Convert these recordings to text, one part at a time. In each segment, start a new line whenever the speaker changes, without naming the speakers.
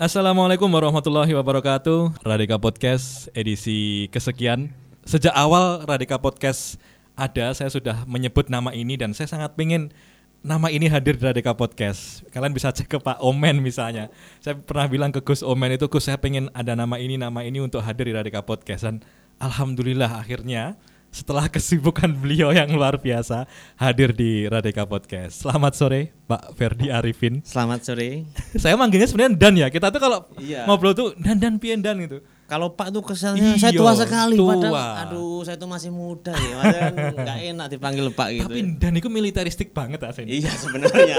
Assalamualaikum warahmatullahi wabarakatuh. Radika Podcast edisi kesekian. Sejak awal Radika Podcast ada, saya sudah menyebut nama ini dan saya sangat pingin nama ini hadir di Radika Podcast. Kalian bisa cek ke Pak Omen misalnya. Saya pernah bilang ke Gus Omen itu, Gus saya pengen ada nama ini, nama ini untuk hadir di Radika Podcast. Dan Alhamdulillah akhirnya setelah kesibukan beliau yang luar biasa hadir di Radika Podcast. Selamat sore Pak Ferdi Arifin.
Selamat sore.
saya manggilnya sebenarnya Dan ya. Kita tuh kalau
Iya.
ngobrol tuh Dan Dan pian Dan gitu.
Kalau Pak tuh kesannya
Iya,
saya tua sekali
tua.
padahal aduh saya tuh masih muda ya. Padahal nggak enak dipanggil Pak gitu.
Tapi
ya.
Dan itu militeristik banget aslinya.
Iya sebenarnya.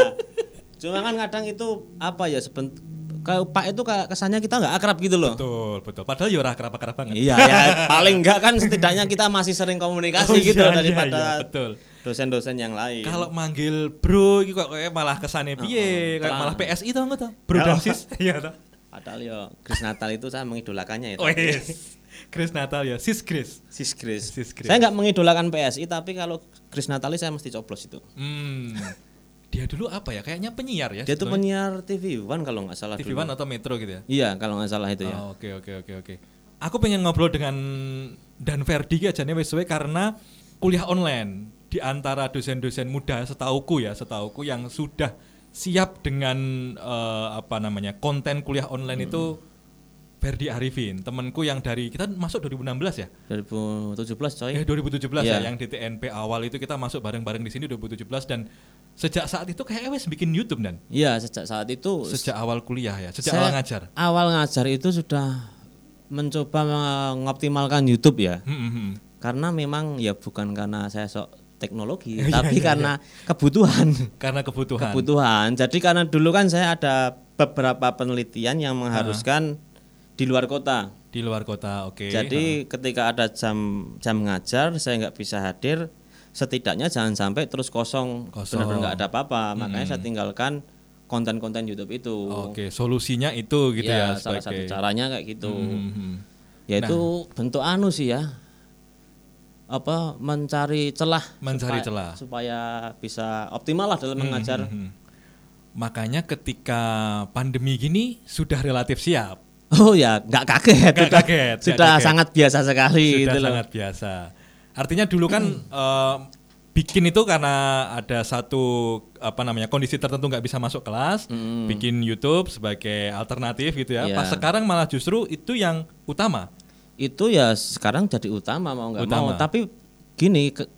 Cuma kan kadang itu apa ya sebentar kalau Pak itu kayak kesannya kita nggak akrab gitu loh.
Betul, betul. Padahal ya ora kerap-kerap banget.
Iya ya paling nggak kan setidaknya kita masih sering komunikasi
Oh,
gitu Iya.
iya,
loh
iya,
daripada
iya, betul.
dosen-dosen yang lain.
Kalau manggil bro itu kok kayak malah kesannya piye, kayak
terang.
malah PSI tau nggak tau? Bro
Oh.
Damsis. Iya tau.
Padahal ya Chris Natal itu saya mengidolakannya ya.
Oh, iya. Wes. Chris Natal ya, Sis Chris.
Sis Chris.
Sis Chris.
Saya nggak mengidolakan PSI tapi kalau Chris Natali saya mesti coplos itu.
Hmm. Dia dulu apa ya? Kayaknya penyiar ya.
Dia tuh
sebelumnya.
penyiar TV One kalau nggak salah
TV
dulu.
One atau Metro gitu ya.
Iya, kalau nggak salah itu ya.
Oh, Oke oke oke oke. Aku pengen ngobrol dengan Dan Verdi ki aja nih wes suwe karena kuliah online di antara dosen-dosen muda setauku ya setauku yang sudah siap dengan eh, apa namanya konten kuliah online itu
Hmm.
Verdi Arifin temanku yang dari kita masuk 2016 ya
2017 coy.
Eh 2017
Iya.
ya yang di TNP awal itu kita masuk bareng-bareng di sini 2017 dan sejak saat itu kayak wes bikin YouTube dan
Iya, sejak saat itu
sejak awal kuliah ya sejak
saya-
awal ngajar.
Awal ngajar itu sudah mencoba mengoptimalkan YouTube ya.
Hmm, hmm, hmm.
Karena memang ya bukan karena saya sok teknologi, tapi karena kebutuhan.
Karena Iya, kebutuhan.
Kebutuhan. Jadi karena dulu kan saya ada beberapa penelitian yang mengharuskan di luar kota.
di luar kota oke
Jadi ketika ada jam jam ngajar saya nggak bisa hadir, setidaknya jangan sampai terus
Kosong.
kosong,
Hmm.
benar-benar nggak ada apa-apa. Makanya saya tinggalkan konten-konten YouTube itu.
oke solusinya itu Oh, gitu ya,
ya,
sebagai
salah satu caranya kayak gitu.
Hmm, Nah. hmm.
Yaitu bentuk anu sih ya. Apa mencari celah
mencari
supaya,
celah
supaya bisa optimal lah dalam mengajar.
Hmm. makanya ketika pandemi gini sudah relatif siap
Oh ya, nggak
Nggak
kaget. sudah
kaget, nggak
sudah
kaget.
sangat biasa sekali
sudah
gitu loh. Hmm.
sangat biasa artinya dulu kan eh, bikin itu karena ada satu apa namanya kondisi tertentu nggak bisa masuk kelas bikin YouTube sebagai alternatif gitu ya
Hmm. Iya.
pas sekarang malah justru itu yang utama
itu ya sekarang jadi utama mau nggak mau
Utama.
tapi gini ke-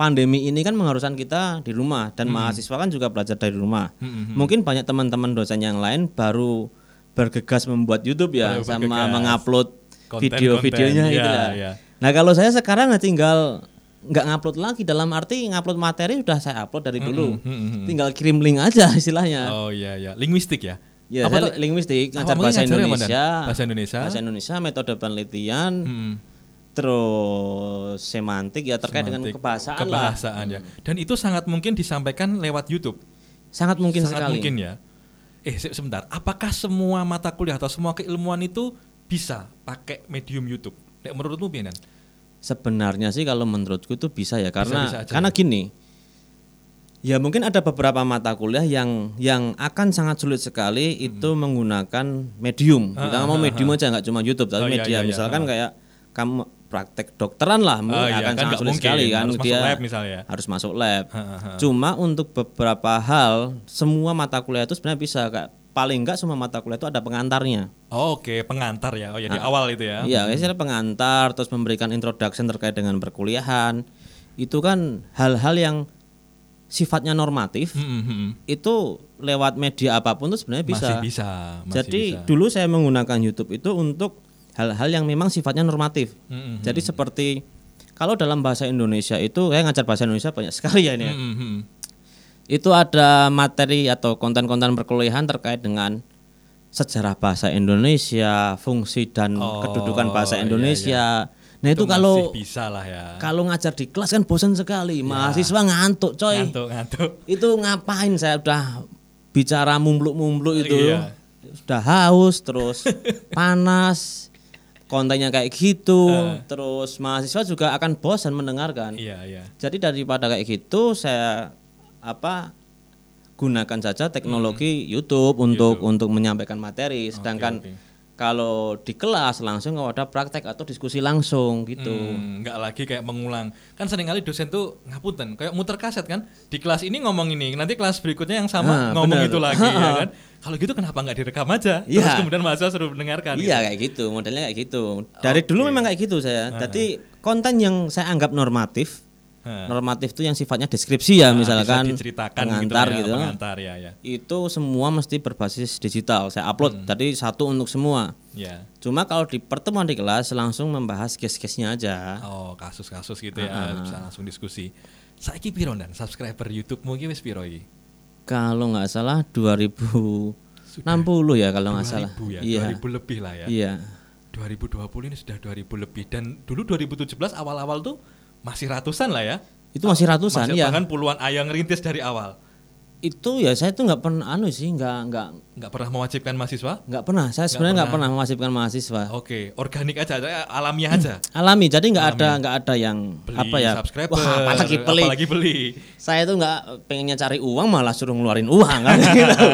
pandemi ini kan mengharuskan kita di rumah dan
Mm-hmm.
mahasiswa kan juga belajar dari rumah mungkin banyak teman-teman dosen yang lain baru bergegas membuat YouTube ya
Baru
sama
bergegas.
mengupload
Konten-konten,
video-videonya
ya,
gitu lah.
ya.
Nah kalau saya sekarang tinggal nggak ngupload lagi dalam arti ngupload materi sudah saya upload dari dulu,
Mm-mm, mm-mm.
tinggal kirim link aja istilahnya.
Mm-hmm, oh iya iya linguistik ya
Ya,
Apa tuh?
saya linguistik,
Apa
ngajar
mungkin
bahasa
ngajarnya apa, Dan?
Indonesia,
Bahasa Indonesia.
bahasa Indonesia, metode penelitian,
Hmm.
terus semantik ya terkait dengan
Semantik,
kebahasaan, lah.
kebahasaan ya. Dan itu sangat mungkin disampaikan lewat YouTube.
sangat mungkin
sangat
sekali
mungkin ya. Eh se- sebentar, apakah semua mata kuliah atau semua keilmuan itu bisa pakai medium YouTube? Nek menurutmu Bianan?
sebenarnya sih kalau menurutku itu bisa ya karena
Bisa-bisa aja
karena gini ya mungkin ada beberapa mata kuliah yang yang akan sangat sulit sekali
Hmm.
itu menggunakan medium
Ah,
kita ngomong medium aja nggak cuma YouTube
Oh, iya,
tapi media
iya, iya,
misalkan kayak kamu praktek dokteran lah mungkin
iya, kan
akan sangat
nggak
sulit
mungkin,
sekali kan
harus masuk
dia
lab misalnya.
harus masuk
Ya.
lab
Ha, ha, ha.
cuma untuk beberapa hal semua mata kuliah itu sebenarnya bisa Kayak paling nggak semua mata kuliah itu ada pengantarnya
Oh, Oke, pengantar ya. Oh ya di awal itu ya.
Iya, istilah pengantar terus memberikan introduction terkait dengan perkuliahan. Itu kan hal-hal yang sifatnya normatif.
Hmm, hmm, hmm.
Itu lewat media apapun tuh sebenarnya bisa.
Masih bisa. Masih
Jadi
bisa.
dulu saya menggunakan YouTube itu untuk hal-hal yang memang sifatnya normatif.
Hmm, hmm,
Jadi seperti kalau dalam bahasa Indonesia itu saya ngajar bahasa Indonesia banyak sekali ya ini. ya.
hmm, hmm, hmm.
Itu ada materi atau konten-konten perkuliahan terkait dengan sejarah bahasa Indonesia, fungsi dan
Oh,
kedudukan bahasa
iya,
Indonesia. Nah
masih
itu,
Iya.
kalau
bisa lah ya.
kalau ngajar di kelas kan bosan sekali, mahasiswa ngantuk coy.
Ngantuk, ngantuk.
Itu ngapain saya udah bicara mumbluk-mumbluk itu.
Iya.
Sudah haus terus panas. Kontennya kayak gitu, terus mahasiswa juga akan bosan mendengarkan.
Iya, iya.
Jadi daripada kayak gitu saya apa gunakan saja teknologi YouTube untuk untuk menyampaikan materi sedangkan
Hmm. oke.
kalau di kelas langsung kalau ada praktek atau diskusi langsung gitu
Hmm, nggak lagi kayak mengulang kan seringkali dosen tuh ngapunten kayak muter kaset kan di kelas ini ngomong ini nanti kelas berikutnya yang sama
Ah,
ngomong
bener.
itu lagi ya kan kalau gitu kenapa nggak direkam aja terus
Iya.
kemudian mahasiswa suruh mendengarkan
Iya kayak gitu, modelnya kayak gitu. Dari dulu memang kayak gitu saya. Jadi konten yang saya anggap normatif,
Ha.
normatif itu yang sifatnya deskripsi ya
Nah,
misalkan,
bisa diceritakan
pengantar
gitu, ya,
gitu.
pengantar ya ya
Itu semua mesti berbasis digital. Saya
Hmm.
upload tadi satu untuk semua.
ya
Cuma kalau di pertemuan di kelas langsung membahas case-case-nya aja.
oh kasus-kasus gitu ya
Ah,
bisa langsung diskusi saiki piro dan subscriber YouTube mungkin wis piro iki
Kalau nggak salah 2060 ya kalau nggak salah.
2000 ya
iya.
2000 lebih lah ya
Iya.
2020 ini sudah 2000 lebih dan dulu 2017 awal-awal tuh masih ratusan lah ya
Itu masih ratusan
Masih
ya.
bahkan puluhan ayang rintis dari awal
Itu ya saya tuh nggak pernah anu sih, nggak nggak
nggak pernah mewajibkan mahasiswa
nggak pernah. Saya sebenarnya nggak pernah mewajibkan mahasiswa.
oke organik aja aja, alamiah aja
alami jadi nggak ada nggak ada yang
beli
Hmm. apa ya
subscriber
wah apalagi beli
apalagi beli.
saya tuh nggak pengennya cari uang malah suruh ngeluarin uang kan gitu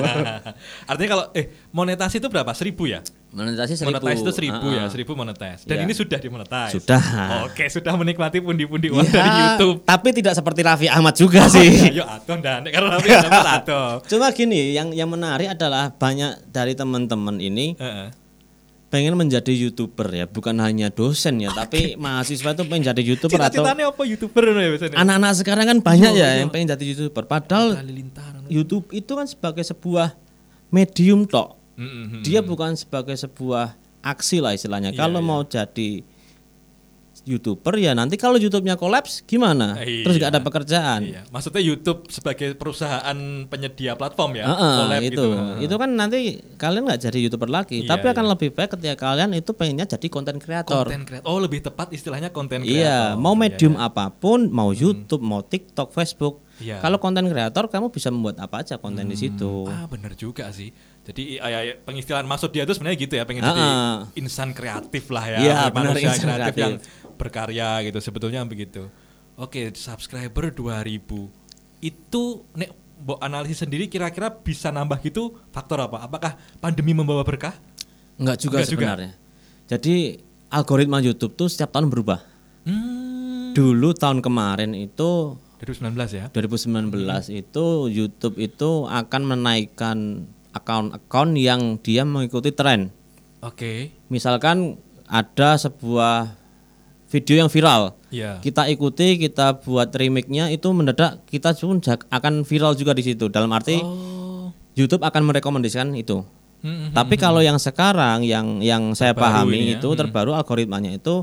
artinya kalau eh monetasi itu berapa seribu ya
monetisasi seribu
monetize itu seribu
Ah,
ya
ah.
seribu monetize dan
Iya.
ini sudah dimonetize
Sudah.
oke sudah menikmati pundi-pundi uang
Ya,
dari YouTube
tapi tidak seperti Raffi Ahmad juga sih
ya, yuk atom dan karena tapi dapat atom
cuma gini yang yang menarik adalah banyak dari teman-teman ini
Heeh.
pengen menjadi youtuber ya bukan hanya dosen ya tapi mahasiswa itu pengen jadi youtuber atau
cita-citanya apa youtuber no ya biasanya
anak-anak sekarang kan banyak ya yang pengen jadi youtuber padahal
Halilintar.
YouTube itu kan sebagai sebuah medium tok
Mm-mm.
dia bukan sebagai sebuah aksi lah istilahnya.
Iya,
kalau mau jadi youtuber ya nanti kalau YouTube-nya kolaps gimana?
Eh,
Terus
iya.
nggak ada pekerjaan.
Iya, maksudnya YouTube sebagai perusahaan penyedia platform ya,
Heeh,
collab
itu,
gitu. Heeh.
itu kan nanti kalian nggak jadi youtuber lagi,
Iya,
tapi akan lebih baik ketika kalian itu pengennya jadi konten kreator.
Content creator. Oh, lebih tepat istilahnya konten creator. oh,
Iya, mau medium apapun, mau YouTube, mau TikTok, Facebook.
Hmm. Iya.
Kalau konten kreator kamu bisa membuat apa aja konten di situ.
Ah, bener juga sih. Jadi ay- ay- pengistilahan maksud dia itu sebenarnya gitu ya, pengen jadi
Heeh.
insan kreatif lah ya,
Iya, bener,
manusia
insan
kreatif,
kreatif.
yang berkarya gitu. Sebetulnya begitu. Oke, subscriber 2000. Itu nek mbok analisis sendiri kira-kira bisa nambah gitu faktor apa? Apakah pandemi membawa berkah?
Enggak juga
Nggak juga.
sebenarnya. Jadi algoritma YouTube tuh setiap tahun berubah.
Hmm,
Dulu tahun kemarin itu
2019 ya.
2019
Hmm.
itu YouTube itu akan menaikkan account-account yang dia mengikuti tren.
Oke.
Misalkan ada sebuah video yang viral,
Iya.
kita ikuti, kita buat remake-nya itu mendadak kita pun jak- akan viral juga di situ. Dalam arti
Oh.
YouTube akan merekomendasikan itu.
Mm-mm.
Tapi kalau yang sekarang yang yang saya
mhm, Terbaru ini
pahami
ya,
itu terbaru algoritmanya itu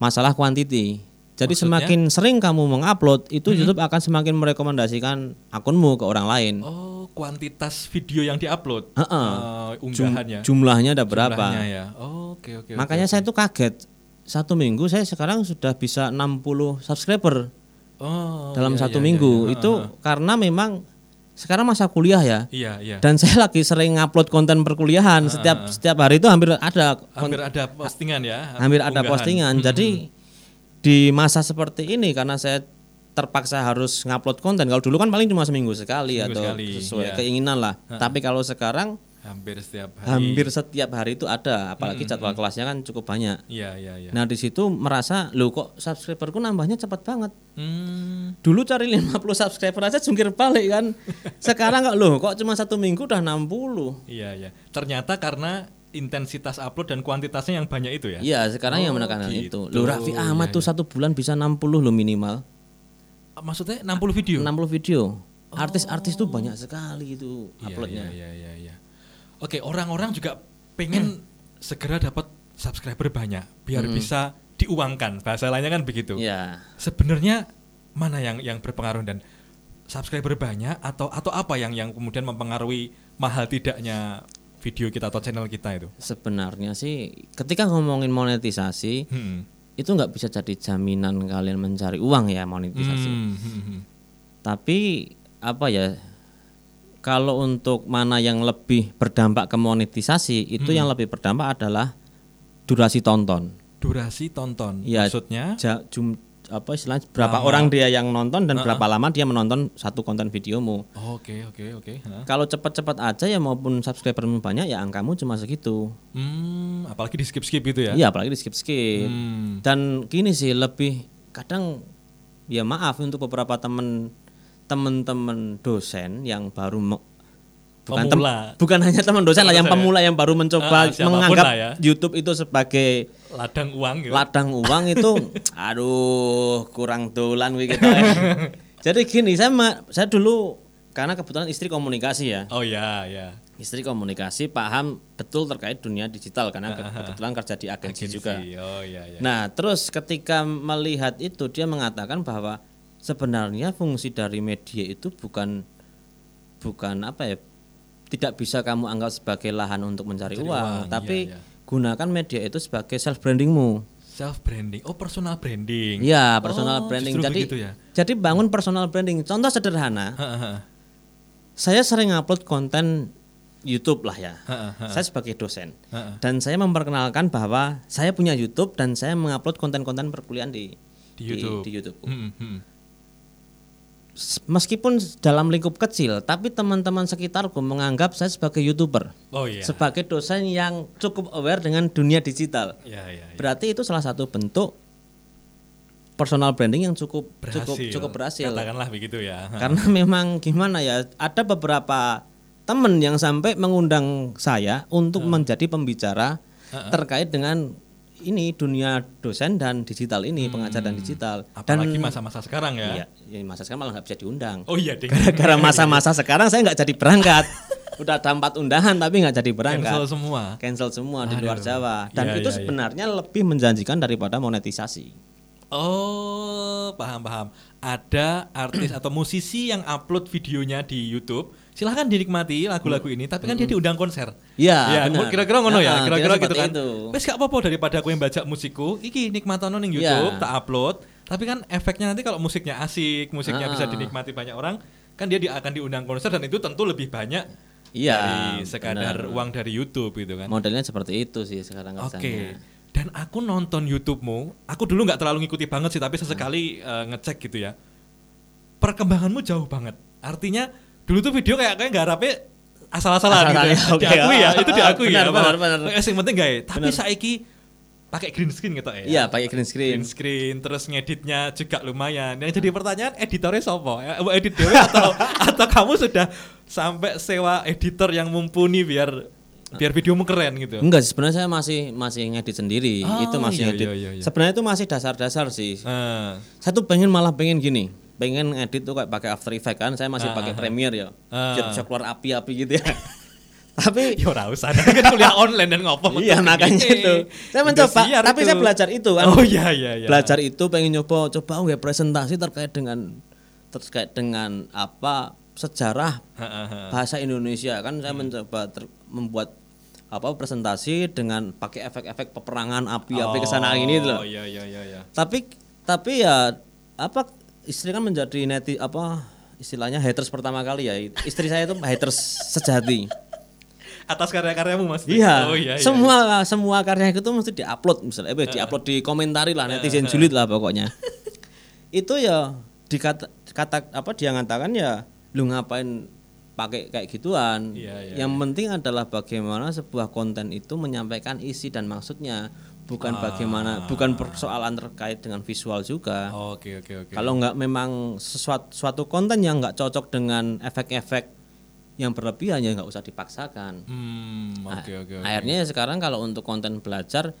masalah quantity. Jadi semakin sering kamu mengupload itu
Mhm.
YouTube akan semakin merekomendasikan akunmu ke orang lain.
Oh, kuantitas video yang diupload,
Heeh.
Eh, unggahannya,
Jumlahnya ada berapa?
Jumlahnya ya. Oh, Oke oke. oke.
Makanya saya itu kaget. Satu minggu saya sekarang sudah bisa 60 subscriber
Oh,
dalam
iya,
satu
iya, iya,
minggu.
iya.
Itu karena memang sekarang masa kuliah ya.
Iya iya.
Dan saya lagi sering upload konten perkuliahan setiap setiap hari itu hampir ada
Hampir Hmm, ada postingan ya.
hampir ada
unggahan.
postingan. Jadi
hmm.
di masa seperti ini karena saya terpaksa harus ngupload konten. Kalau dulu kan paling cuma seminggu sekali
Seminggu
atau
sekali,
sesuai
ya.
keinginan lah. Tapi kalau sekarang
Hampir setiap hari.
hampir setiap hari itu ada,
Hmm,
apalagi jadwal kelasnya kan cukup banyak.
Iya iya iya.
Nah, di situ merasa, "Loh kok subscriberku nambahnya cepat banget?"
Hmm,
Dulu cari 50 subscriber aja jungkir balik kan. Sekarang kok loh kok cuma satu minggu udah 60.
iya iya. Ternyata karena intensitas upload dan kuantitasnya yang banyak itu ya.
Iya, sekarang yang menekankan
gitu. iya.
itu. Loh Raffi Ahmad tuh satu bulan bisa 60 loh minimal.
Maksudnya 60 video.
60 video. Artis-artis tuh banyak sekali itu uploadnya.
Oh. Iya, iya, iya, iya. Oke, orang-orang juga
Hmm.
pengen segera dapat subscriber banyak biar bisa diuangkan. Bahasa lainnya kan begitu.
Iya.
Sebenarnya mana yang yang berpengaruh dan subscriber banyak atau atau apa yang yang kemudian mempengaruhi mahal tidaknya video kita atau channel kita itu?
Sebenarnya sih ketika ngomongin monetisasi
Hmm.
itu nggak bisa jadi jaminan kalian mencari uang ya monetisasi.
Hmm, hmm, hmm.
Tapi apa ya kalau untuk mana yang lebih berdampak ke monetisasi itu yang
Hmm.
lebih berdampak adalah durasi tonton.
Durasi tonton
Iya.
maksudnya
Ja- jum- apa istilah berapa orang dia yang nonton dan berapa lama dia menonton satu konten videomu.
Oke, oke, oke. Hah.
Kalau cepat-cepat aja ya maupun subscribermu banyak ya angkamu cuma segitu.
Hmm, apalagi di skip-skip gitu ya.
Iya apalagi di skip-skip.
Hmm.
Dan gini sih lebih kadang ya maaf untuk beberapa temen temen-temen dosen yang baru me- bukan tem-
Pemula.
bukan hanya teman dosen lah yang
Dosen ya?
pemula yang baru
Ah,
mencoba
siapapun
menganggap
lah ya.
YouTube itu sebagai
Ladang uang gitu.
ladang uang itu aduh kurang dolan gue kita jadi gini saya ma- saya dulu karena kebetulan istri komunikasi ya
oh ya, ya.
istri komunikasi paham betul terkait dunia digital karena ke- kebetulan kerja di agensi juga
Ah, Agensi. Oh ya, ya.
nah terus ketika melihat itu dia mengatakan bahwa sebenarnya fungsi dari media itu bukan bukan apa ya tidak bisa kamu anggap sebagai lahan untuk mencari uang,
uang,
tapi
iya, iya.
gunakan media itu sebagai self brandingmu
Self branding. Oh, personal branding.
Iya,
Oh,
personal branding.
justru
Jadi
begitu ya.
jadi bangun personal branding. Contoh sederhana,
Heeh.
saya sering upload konten YouTube lah ya.
Heeh,
Saya sebagai dosen.
Heeh.
Dan saya memperkenalkan bahwa saya punya YouTube dan saya mengupload konten-konten perkuliahan di
Di YouTube.
Di, YouTube.
Hmm, hmm.
S- Meskipun dalam lingkup kecil, tapi teman-teman sekitarku menganggap saya sebagai YouTuber.
Oh ya.
Sebagai dosen yang cukup aware dengan dunia digital.
Ya, ya. ya.
Berarti itu salah satu bentuk personal branding yang cukup cukup cukup berhasil.
Katakanlah begitu ya.
karena memang gimana ya ada beberapa temen yang sampai mengundang saya untuk
Hmm.
menjadi pembicara terkait dengan ini dunia dosen dan digital ini pengajar dan digital
Hmm. Apalagi
dan
masa-masa sekarang ya.
Iya, ya, masa sekarang malah nggak bisa diundang
Oh iya, ding.
gara-gara masa-masa sekarang saya nggak jadi berangkat udah ada empat undahan tapi nggak jadi berangkat
Cancel semua.
Cancel semua di luar Jawa dan
Iya,
itu
iya, iya.
sebenarnya lebih menjanjikan daripada monetisasi
Oh, paham paham. Ada artis atau musisi yang upload videonya di YouTube. Silahkan dinikmati lagu-lagu ini, tapi kan dia diundang konser.
Iya,
Ya,
benar.
kira-kira ngono ya,
Ya,
kira-kira
kira
gitu kan.
seperti itu.
Wes gak apa-apa daripada aku yang bajak musikku, iki nikmatono ning YouTube,
Ya.
tak upload. Tapi kan efeknya nanti kalau musiknya asik, musiknya bisa
Ah.
dinikmati banyak orang, kan dia di- akan diundang konser dan itu tentu lebih banyak
Iya,
dari sekadar
benar.
uang dari YouTube gitu kan.
modelnya seperti itu sih sekarang
Oke.
kerjanya.
Dan aku nonton YouTube-mu, aku dulu nggak terlalu ngikuti banget sih,
Hmm.
tapi sesekali eh, ngecek gitu ya. Perkembanganmu jauh banget. Artinya dulu tuh video kayak kayak nggak harapnya asal-asalan gitu. Ya.
Asal-asalan, oke.
Diakui ya, itu
Ah,
diakui
benar,
ya.
benar,
bahwa-
benar.
Eh, Yang penting gak Tapi saiki pakai green screen gitu ya.
Iya, pakai green Ah. screen.
Green screen terus ngeditnya juga lumayan. Yang jadi pertanyaan editornya sopo? Eh, mau Edit dewe atau atau kamu sudah sampai sewa editor yang mumpuni biar biar videomu keren gitu.
Enggak sih, sebenarnya saya masih masih ngedit sendiri.
Oh,
itu masih
iya,
ngedit.
iya, iya, iya.
Sebenarnya itu masih dasar-dasar sih.
Eh,
Saya tuh pengen malah pengen gini, pengen ngedit tuh kayak pakai After Effects kan. Saya masih pakai Premiere ya.
Ah.
Biar bisa keluar api-api gitu ya. Tapi
Ya ora usah, nanti kan kuliah online dan ngopo.
iya makanya itu. Saya mencoba, tapi saya belajar itu kan.
Oh iya iya iya.
Belajar itu pengen nyoba coba nggak presentasi terkait dengan terkait dengan apa sejarah
Heeh.
bahasa Indonesia kan saya mencoba ter- membuat apa presentasi dengan pakai efek-efek peperangan api-api kesana Nah, ini gitu loh.
Oh iya iya iya iya.
Tapi tapi ya apa istri kan menjadi neti apa istilahnya haters pertama kali ya. Istri saya itu haters sejati.
Atas karya-karyamu Mas.
Iya.
Oh iya iya.
Semua semua karya itu mesti diupload misalnya eh diupload di komentari lah netizen julid lah pokoknya. itu ya dikata kata apa dia ngatakan ya lu ngapain pakai kayak gituan.
Iya, iya,
Yang penting adalah bagaimana sebuah konten itu menyampaikan isi dan maksudnya
Ah.
bukan bagaimana bukan persoalan terkait dengan visual juga.
Oke oke oke.
Kalau nggak memang sesuatu suatu konten yang nggak cocok dengan efek-efek yang berlebihan ya nggak usah dipaksakan.
Hmm oke oke. oke.
Akhirnya ya sekarang kalau untuk konten belajar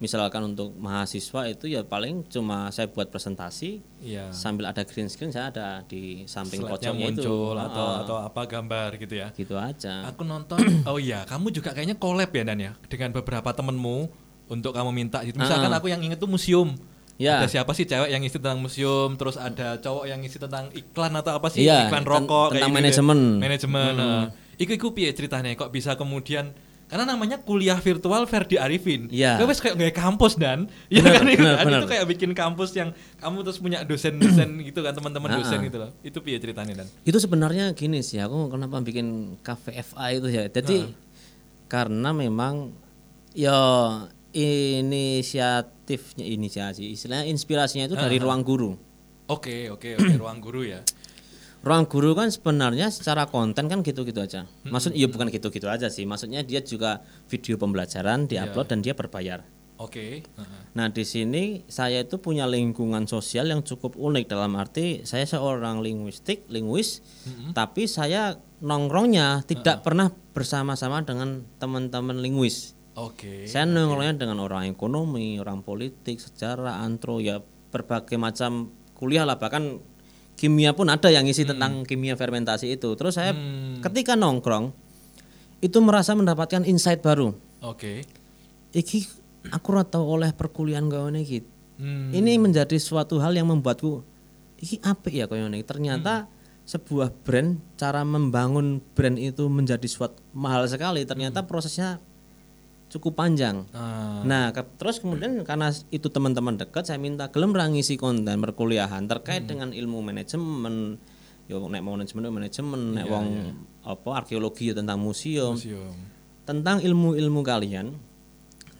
misalkan untuk mahasiswa itu ya paling cuma saya buat presentasi
Iya.
sambil ada green screen saya ada di samping
Slide-nya
pojoknya itu
muncul atau atau apa gambar gitu ya.
gitu aja.
Aku nonton oh iya, kamu juga kayaknya collab ya Dan ya dengan beberapa temenmu untuk kamu minta gitu. Misalkan aku yang inget tuh museum.
Ah. Ya.
Ada siapa sih cewek yang isi tentang museum, terus ada cowok yang isi tentang iklan atau apa sih?
Iya,
iklan
ten-
rokok
tentang
gitu ya.
manajemen.
Manajemen. nah. Iku iku piye ceritanya kok bisa kemudian karena namanya kuliah virtual Ferdi Arifin.
Iya.
Kowe wes kayak nggak kampus dan. Iya
Bener,
kan itu,
bener,
kan?
bener.
itu kayak bikin kampus yang kamu terus punya dosen-dosen gitu kan teman-teman
Ah,
dosen
ah.
gitu loh. Itu piye ceritanya Dan?
Itu sebenarnya gini sih aku kenapa
Ah.
bikin kafe FA itu ya. Jadi karena memang ya inisiatifnya inisiasi istilahnya inspirasinya itu
Ah.
dari ruang guru
Oke, oke, oke, ruang guru ya.
ruang guru kan sebenarnya secara konten kan gitu-gitu aja maksud iya bukan gitu-gitu aja sih maksudnya dia juga video pembelajaran diupload dan dia berbayar
Oke. heeh.
Nah di sini saya itu punya lingkungan sosial yang cukup unik dalam arti saya seorang linguistik, linguis, tapi saya nongkrongnya tidak pernah bersama-sama dengan teman-teman linguis.
Iya, Oke.
Saya nongkrongnya dengan orang ekonomi, orang politik, sejarah, antro, ya berbagai macam kuliah lah bahkan kimia pun ada yang
Hmm.
isi tentang kimia fermentasi itu. Terus saya ketika nongkrong itu merasa mendapatkan insight baru
Oke.
iki aku ora tau oleh perkuliahan kaya ngene iki.
Hmm.
Ini menjadi suatu hal yang membuatku iki apik ya kaya ngene. Ternyata
Hmm.
sebuah brand cara membangun brand itu menjadi suatu mahal sekali.
Hmm.
Ternyata prosesnya cukup panjang.
Ah,
Nah, ke- terus kemudian karena itu teman-teman dekat saya minta gelem ra ngisi konten perkuliahan terkait
Hmm.
dengan ilmu manajemen. Yo nek mau manajemen yo manajemen, nek wong apa arkeologi yo tentang museum,
Iya, museum.
tentang ilmu-ilmu kalian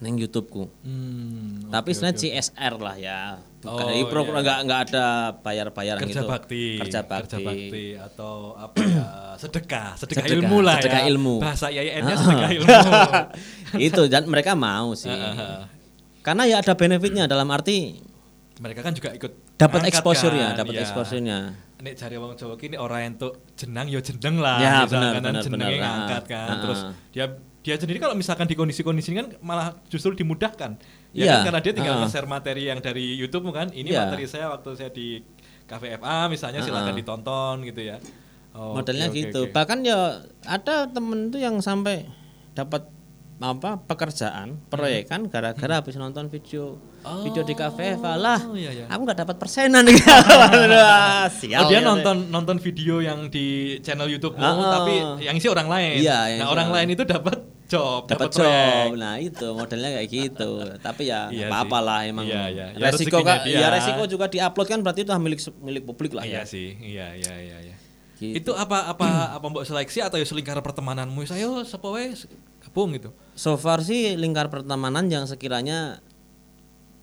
neng YouTubeku.
Hmm.
Tapi sebenarnya CSR lah ya. Bukan
Oh,
oh, pro nggak nggak ada bayar-bayaran
Kerja
gitu.
bakti,
Kerja bakti.
atau apa ya sedekah, sedekah,
Sedekah,
ilmu lah
sedekah
ya.
ilmu.
Bahasa YYN-nya sedekah ilmu.
itu dan mereka mau sih. Karena ya ada benefitnya dalam arti
Mereka kan juga ikut
dapat
ngangkat
exposure-nya,
kan,
dapat
iya.
exposure-nya.
Nek cari wong Jawa kini orang entuk jenang yo jeneng lah.
Ya,
misalkan kan
benar, benar,
jenenge
benar.
ngangkat kan.
Ah, ah.
Terus dia dia sendiri kalau misalkan di kondisi-kondisi ini kan malah justru dimudahkan. Ya
Iya,
kan? karena dia tinggal
ah, ah.
nge-share materi yang dari YouTube kan. Ini
Iya. Ah,
materi saya waktu saya di Cafe FA misalnya silakan ditonton gitu ya. Oh,
Modelnya
oke, oke,
gitu.
oke.
Bahkan ya ada temen tuh yang sampai dapat apa
Hmm.
pekerjaan proyekan gara-gara habis nonton video video di kafe lah
Oh, Hmm. iya, iya.
aku nggak dapat persenan
Oh,
Wah, sial
dia
ya.
nonton nonton video yang di channel YouTube-mu
Ah, ah.
tapi yang isi orang lain.
Iya, yang
nah,
isi
orang
orang
lain itu dapat job, dapat
dapat job.
proyek.
Nah, itu modelnya kayak gitu. Tapi ya
Iya
apa apalah
sih.
emang.
Iya, iya. Ya,
resiko
rezekinya
kan
dia.
ya resiko juga diupload kan berarti itu milik milik publik lah
Iya
ya.
sih, iya iya iya iya.
Gitu.
Itu apa apa apa mbok seleksi atau ya selingkar pertemananmu? Saya sapa wae s- gabung gitu.
So far sih lingkar pertemanan yang sekiranya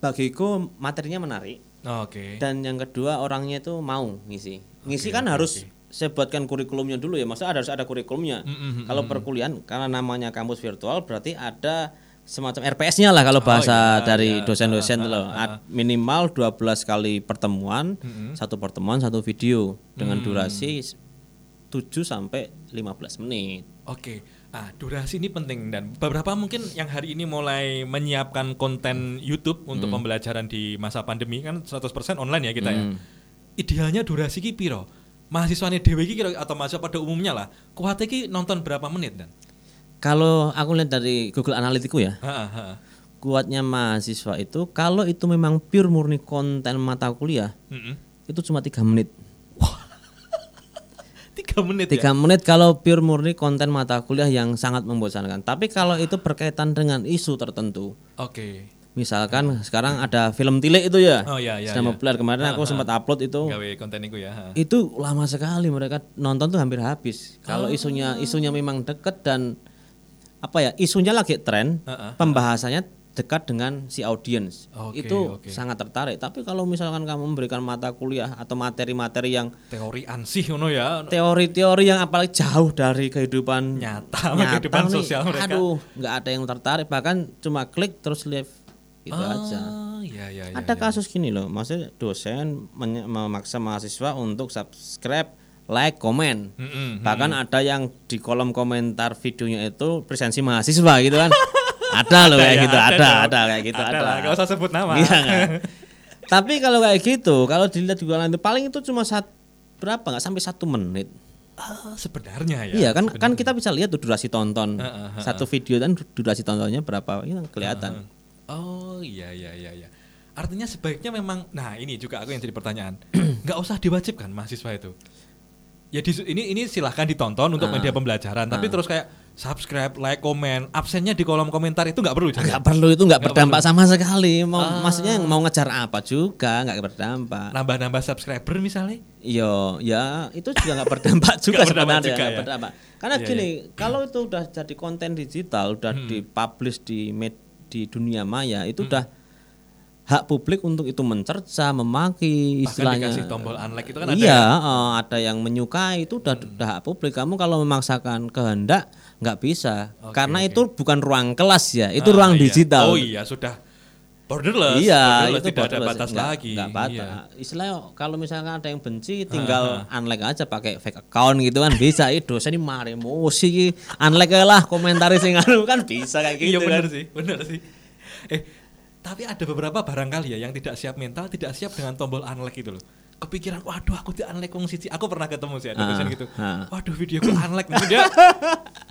bagiku materinya menarik
Nah, Oke.
dan yang kedua orangnya itu mau ngisi. Ngisi kan harus saya buatkan kurikulumnya dulu ya. Maksudnya ada- harus ada kurikulumnya.
Mm,
Kalau perkuliahan karena namanya kampus virtual berarti ada semacam RPS-nya lah
Oh,
kalau
iya.
bahasa
Ah,
dari dosen-dosen itu loh. Ad- Minimal 12 kali pertemuan,
Mm.
satu pertemuan satu video dengan durasi 7 sampai 15 menit.
Oke. Ah, durasi ini penting dan beberapa mungkin yang hari ini mulai menyiapkan konten YouTube untuk pembelajaran di masa pandemi kan 100% online ya kita ya. Idealnya durasi ki piro? Mahasiswane dhewe ki kira atau mahasiswa pada umumnya lah. Kuwate ki nonton berapa menit dan?
Kalau aku lihat dari Google Analytics ya,
Heeh, heeh.
kuatnya mahasiswa itu kalau itu memang pure murni konten mata kuliah
Mm-mm.
itu cuma tiga menit.
Tiga menit ya.
Tiga menit kalau pure murni konten mata kuliah yang sangat membosankan. Tapi kalau itu berkaitan dengan isu tertentu,
Oke.
misalkan sekarang ada film tilik itu ya,
Oh, iya, iya,
sedang populer kemarin aku sempat upload itu,
Gawe konten iku ya. ha.
itu lama sekali mereka nonton tuh hampir habis.
Ah.
Kalau isunya isunya memang dekat dan apa ya isunya lagi tren,
Ah,
pembahasannya dekat dengan si audience
Oke,
itu
oke.
sangat tertarik. Tapi kalau misalkan kamu memberikan mata kuliah atau materi-materi yang
Teori ansih ngono ya.
teori-teori yang apalagi jauh dari kehidupan
nyata sama kehidupan
nih,
sosial mereka.
Aduh, nggak ada yang tertarik bahkan cuma klik terus live itu aja.
Ah, iya iya iya.
Ada kasus gini loh, maksudnya dosen menye- memaksa mahasiswa untuk subscribe, like, komen.
Mm-mm.
Bahkan ada yang di kolom komentar videonya itu presensi mahasiswa gitu kan. ada loh kayak
ya,
gitu,
ada
ada, ada,
dong.
kayak gitu, ada.
lah, nggak usah sebut nama.
Iya nggak? Tapi kalau kayak gitu, kalau dilihat di kolom itu paling itu cuma sat, berapa nggak sampai satu menit.
Ah, sebenarnya ya.
Iya kan kan kita bisa lihat tuh durasi tonton.
Heeh, heeh,
Satu video kan du- durasi tontonnya berapa ini kan kelihatan.
Oh iya iya iya iya. Artinya sebaiknya memang nah ini juga aku yang jadi pertanyaan. nggak usah diwajibkan mahasiswa itu. Ya disu- ini ini silahkan ditonton
Ah.
untuk media pembelajaran, tapi terus kayak subscribe, like, komen, absennya di kolom komentar itu nggak Ah. perlu. Jan.
Nggak perlu itu nggak berdampak sama sekali. Mau maksudnya yang mau ngejar apa juga nggak berdampak.
Nambah-nambah subscriber misalnya.
Yo, ya itu juga nggak berdampak juga
Nggak berdampak
sebenarnya.
juga
nggak
ya.
berdampak. Karena
Iya, Hmm.
gini, kalau itu udah jadi konten digital, udah dipublish di med- di dunia maya itu udah hak publik untuk itu mencerca,
Bahkan
memaki, istilahnya.
dikasih tombol unlike itu kan ada. Hmm.
iya, eh, ada yang menyukai itu udah, udah hak publik. Kamu kalau memaksakan kehendak nggak bisa,
Oke,
karena
oke.
itu bukan ruang kelas ya, itu
Ah, iya.
ruang digital.
Oh iya sudah borderless.
Iya,
borderless,
itu
tidak ada
borderless.
batas
Nggak-
lagi.
nggak
Iya. Ah,
batas. Istilahnya kalau misalkan ada yang benci, tinggal unlike aja pakai fake account gitu kan bisa. Ih dosen ini mari musik, unlike aja lah komentari sing anu kan bisa kayak
Iya
gitu.
benar sih, benar sih. Eh, tapi ada beberapa barangkali ya yang tidak siap mental, tidak siap dengan tombol unlike itu loh. Kepikiran, waduh aku di unlike wong siji. Aku pernah ketemu sih ada
Ah,
dosen gitu.
ah.
Waduh videoku unlike Mungkin dia.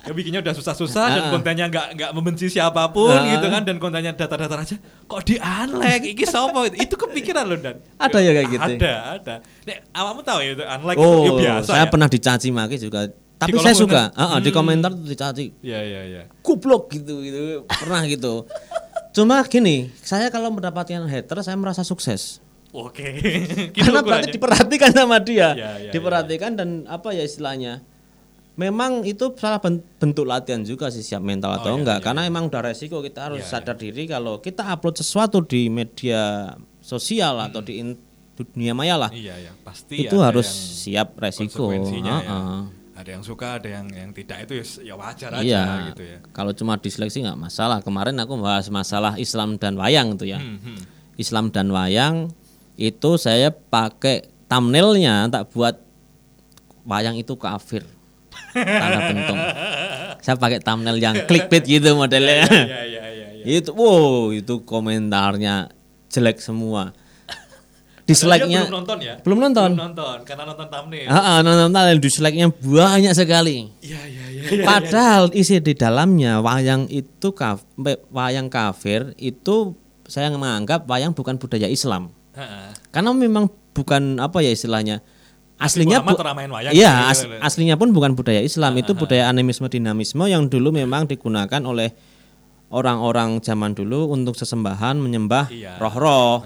ya bikinnya udah susah-susah dan
Ah.
kontennya nggak nggak membenci siapapun
Ah.
gitu kan dan kontennya datar-datar aja. Kok di unlike? Iki sopo? Itu kepikiran loh dan.
Ada ya kayak gitu?
Ada, ada. Nek awakmu tahu ya itu unlike
Oh,
itu ya biasa.
saya
ya? Hmm.
pernah dicaci maki juga. Tapi
kolom
saya suka.
komentar?
Heeh, di komentar tuh dicaci.
Iya, iya, iya.
Goblok gitu gitu. Pernah gitu. Cuma gini, saya kalau mendapatkan hater saya merasa sukses.
Oke. Gitu ukurannya.
karena berarti diperhatikan sama dia
Ya, ya,
diperhatikan dan apa ya istilahnya memang itu salah ben- bentuk latihan juga sih siap mental atau
iya,
enggak
iya,
karena emang udah resiko kita harus
Iya,
sadar diri kalau kita upload sesuatu di media sosial atau di in- dunia maya lah
Hmm. Iya ya pasti.
itu
ada
harus
yang
siap resiko
konsekuensinya ya.
Heeh.
Ada yang suka, ada yang yang tidak itu ya, s- ya wajar aja
iya
gitu ya.
kalau cuma diseleksi nggak masalah kemarin aku bahas masalah Islam dan wayang tuh ya
Hmm, hmm.
Islam dan wayang itu saya pakai thumbnailnya tak buat wayang itu kafir tanda pentung saya pakai thumbnail yang clickbait gitu modelnya
Ya ya ya ya.
itu wow itu komentarnya jelek semua
Padahal dia
dislike-nya
belum nonton ya.
belum nonton
Belum nonton karena nonton thumbnail.
Ah, ah, nonton thumbnail, dislike-nya banyak sekali
Iya iya iya. iya.
Padahal isi di dalamnya wayang itu kaf, me- wayang kafir itu saya menganggap wayang bukan budaya Islam.
Heeh.
Karena memang bukan apa ya istilahnya. Aslinya
Ulama
bu-
telah main wayang. Ah,
Iya,
gitu,
as-
gitu.
aslinya pun bukan budaya Islam, itu budaya animisme dinamisme yang dulu memang digunakan oleh orang-orang zaman dulu untuk sesembahan menyembah
Iya. ah.
roh-roh.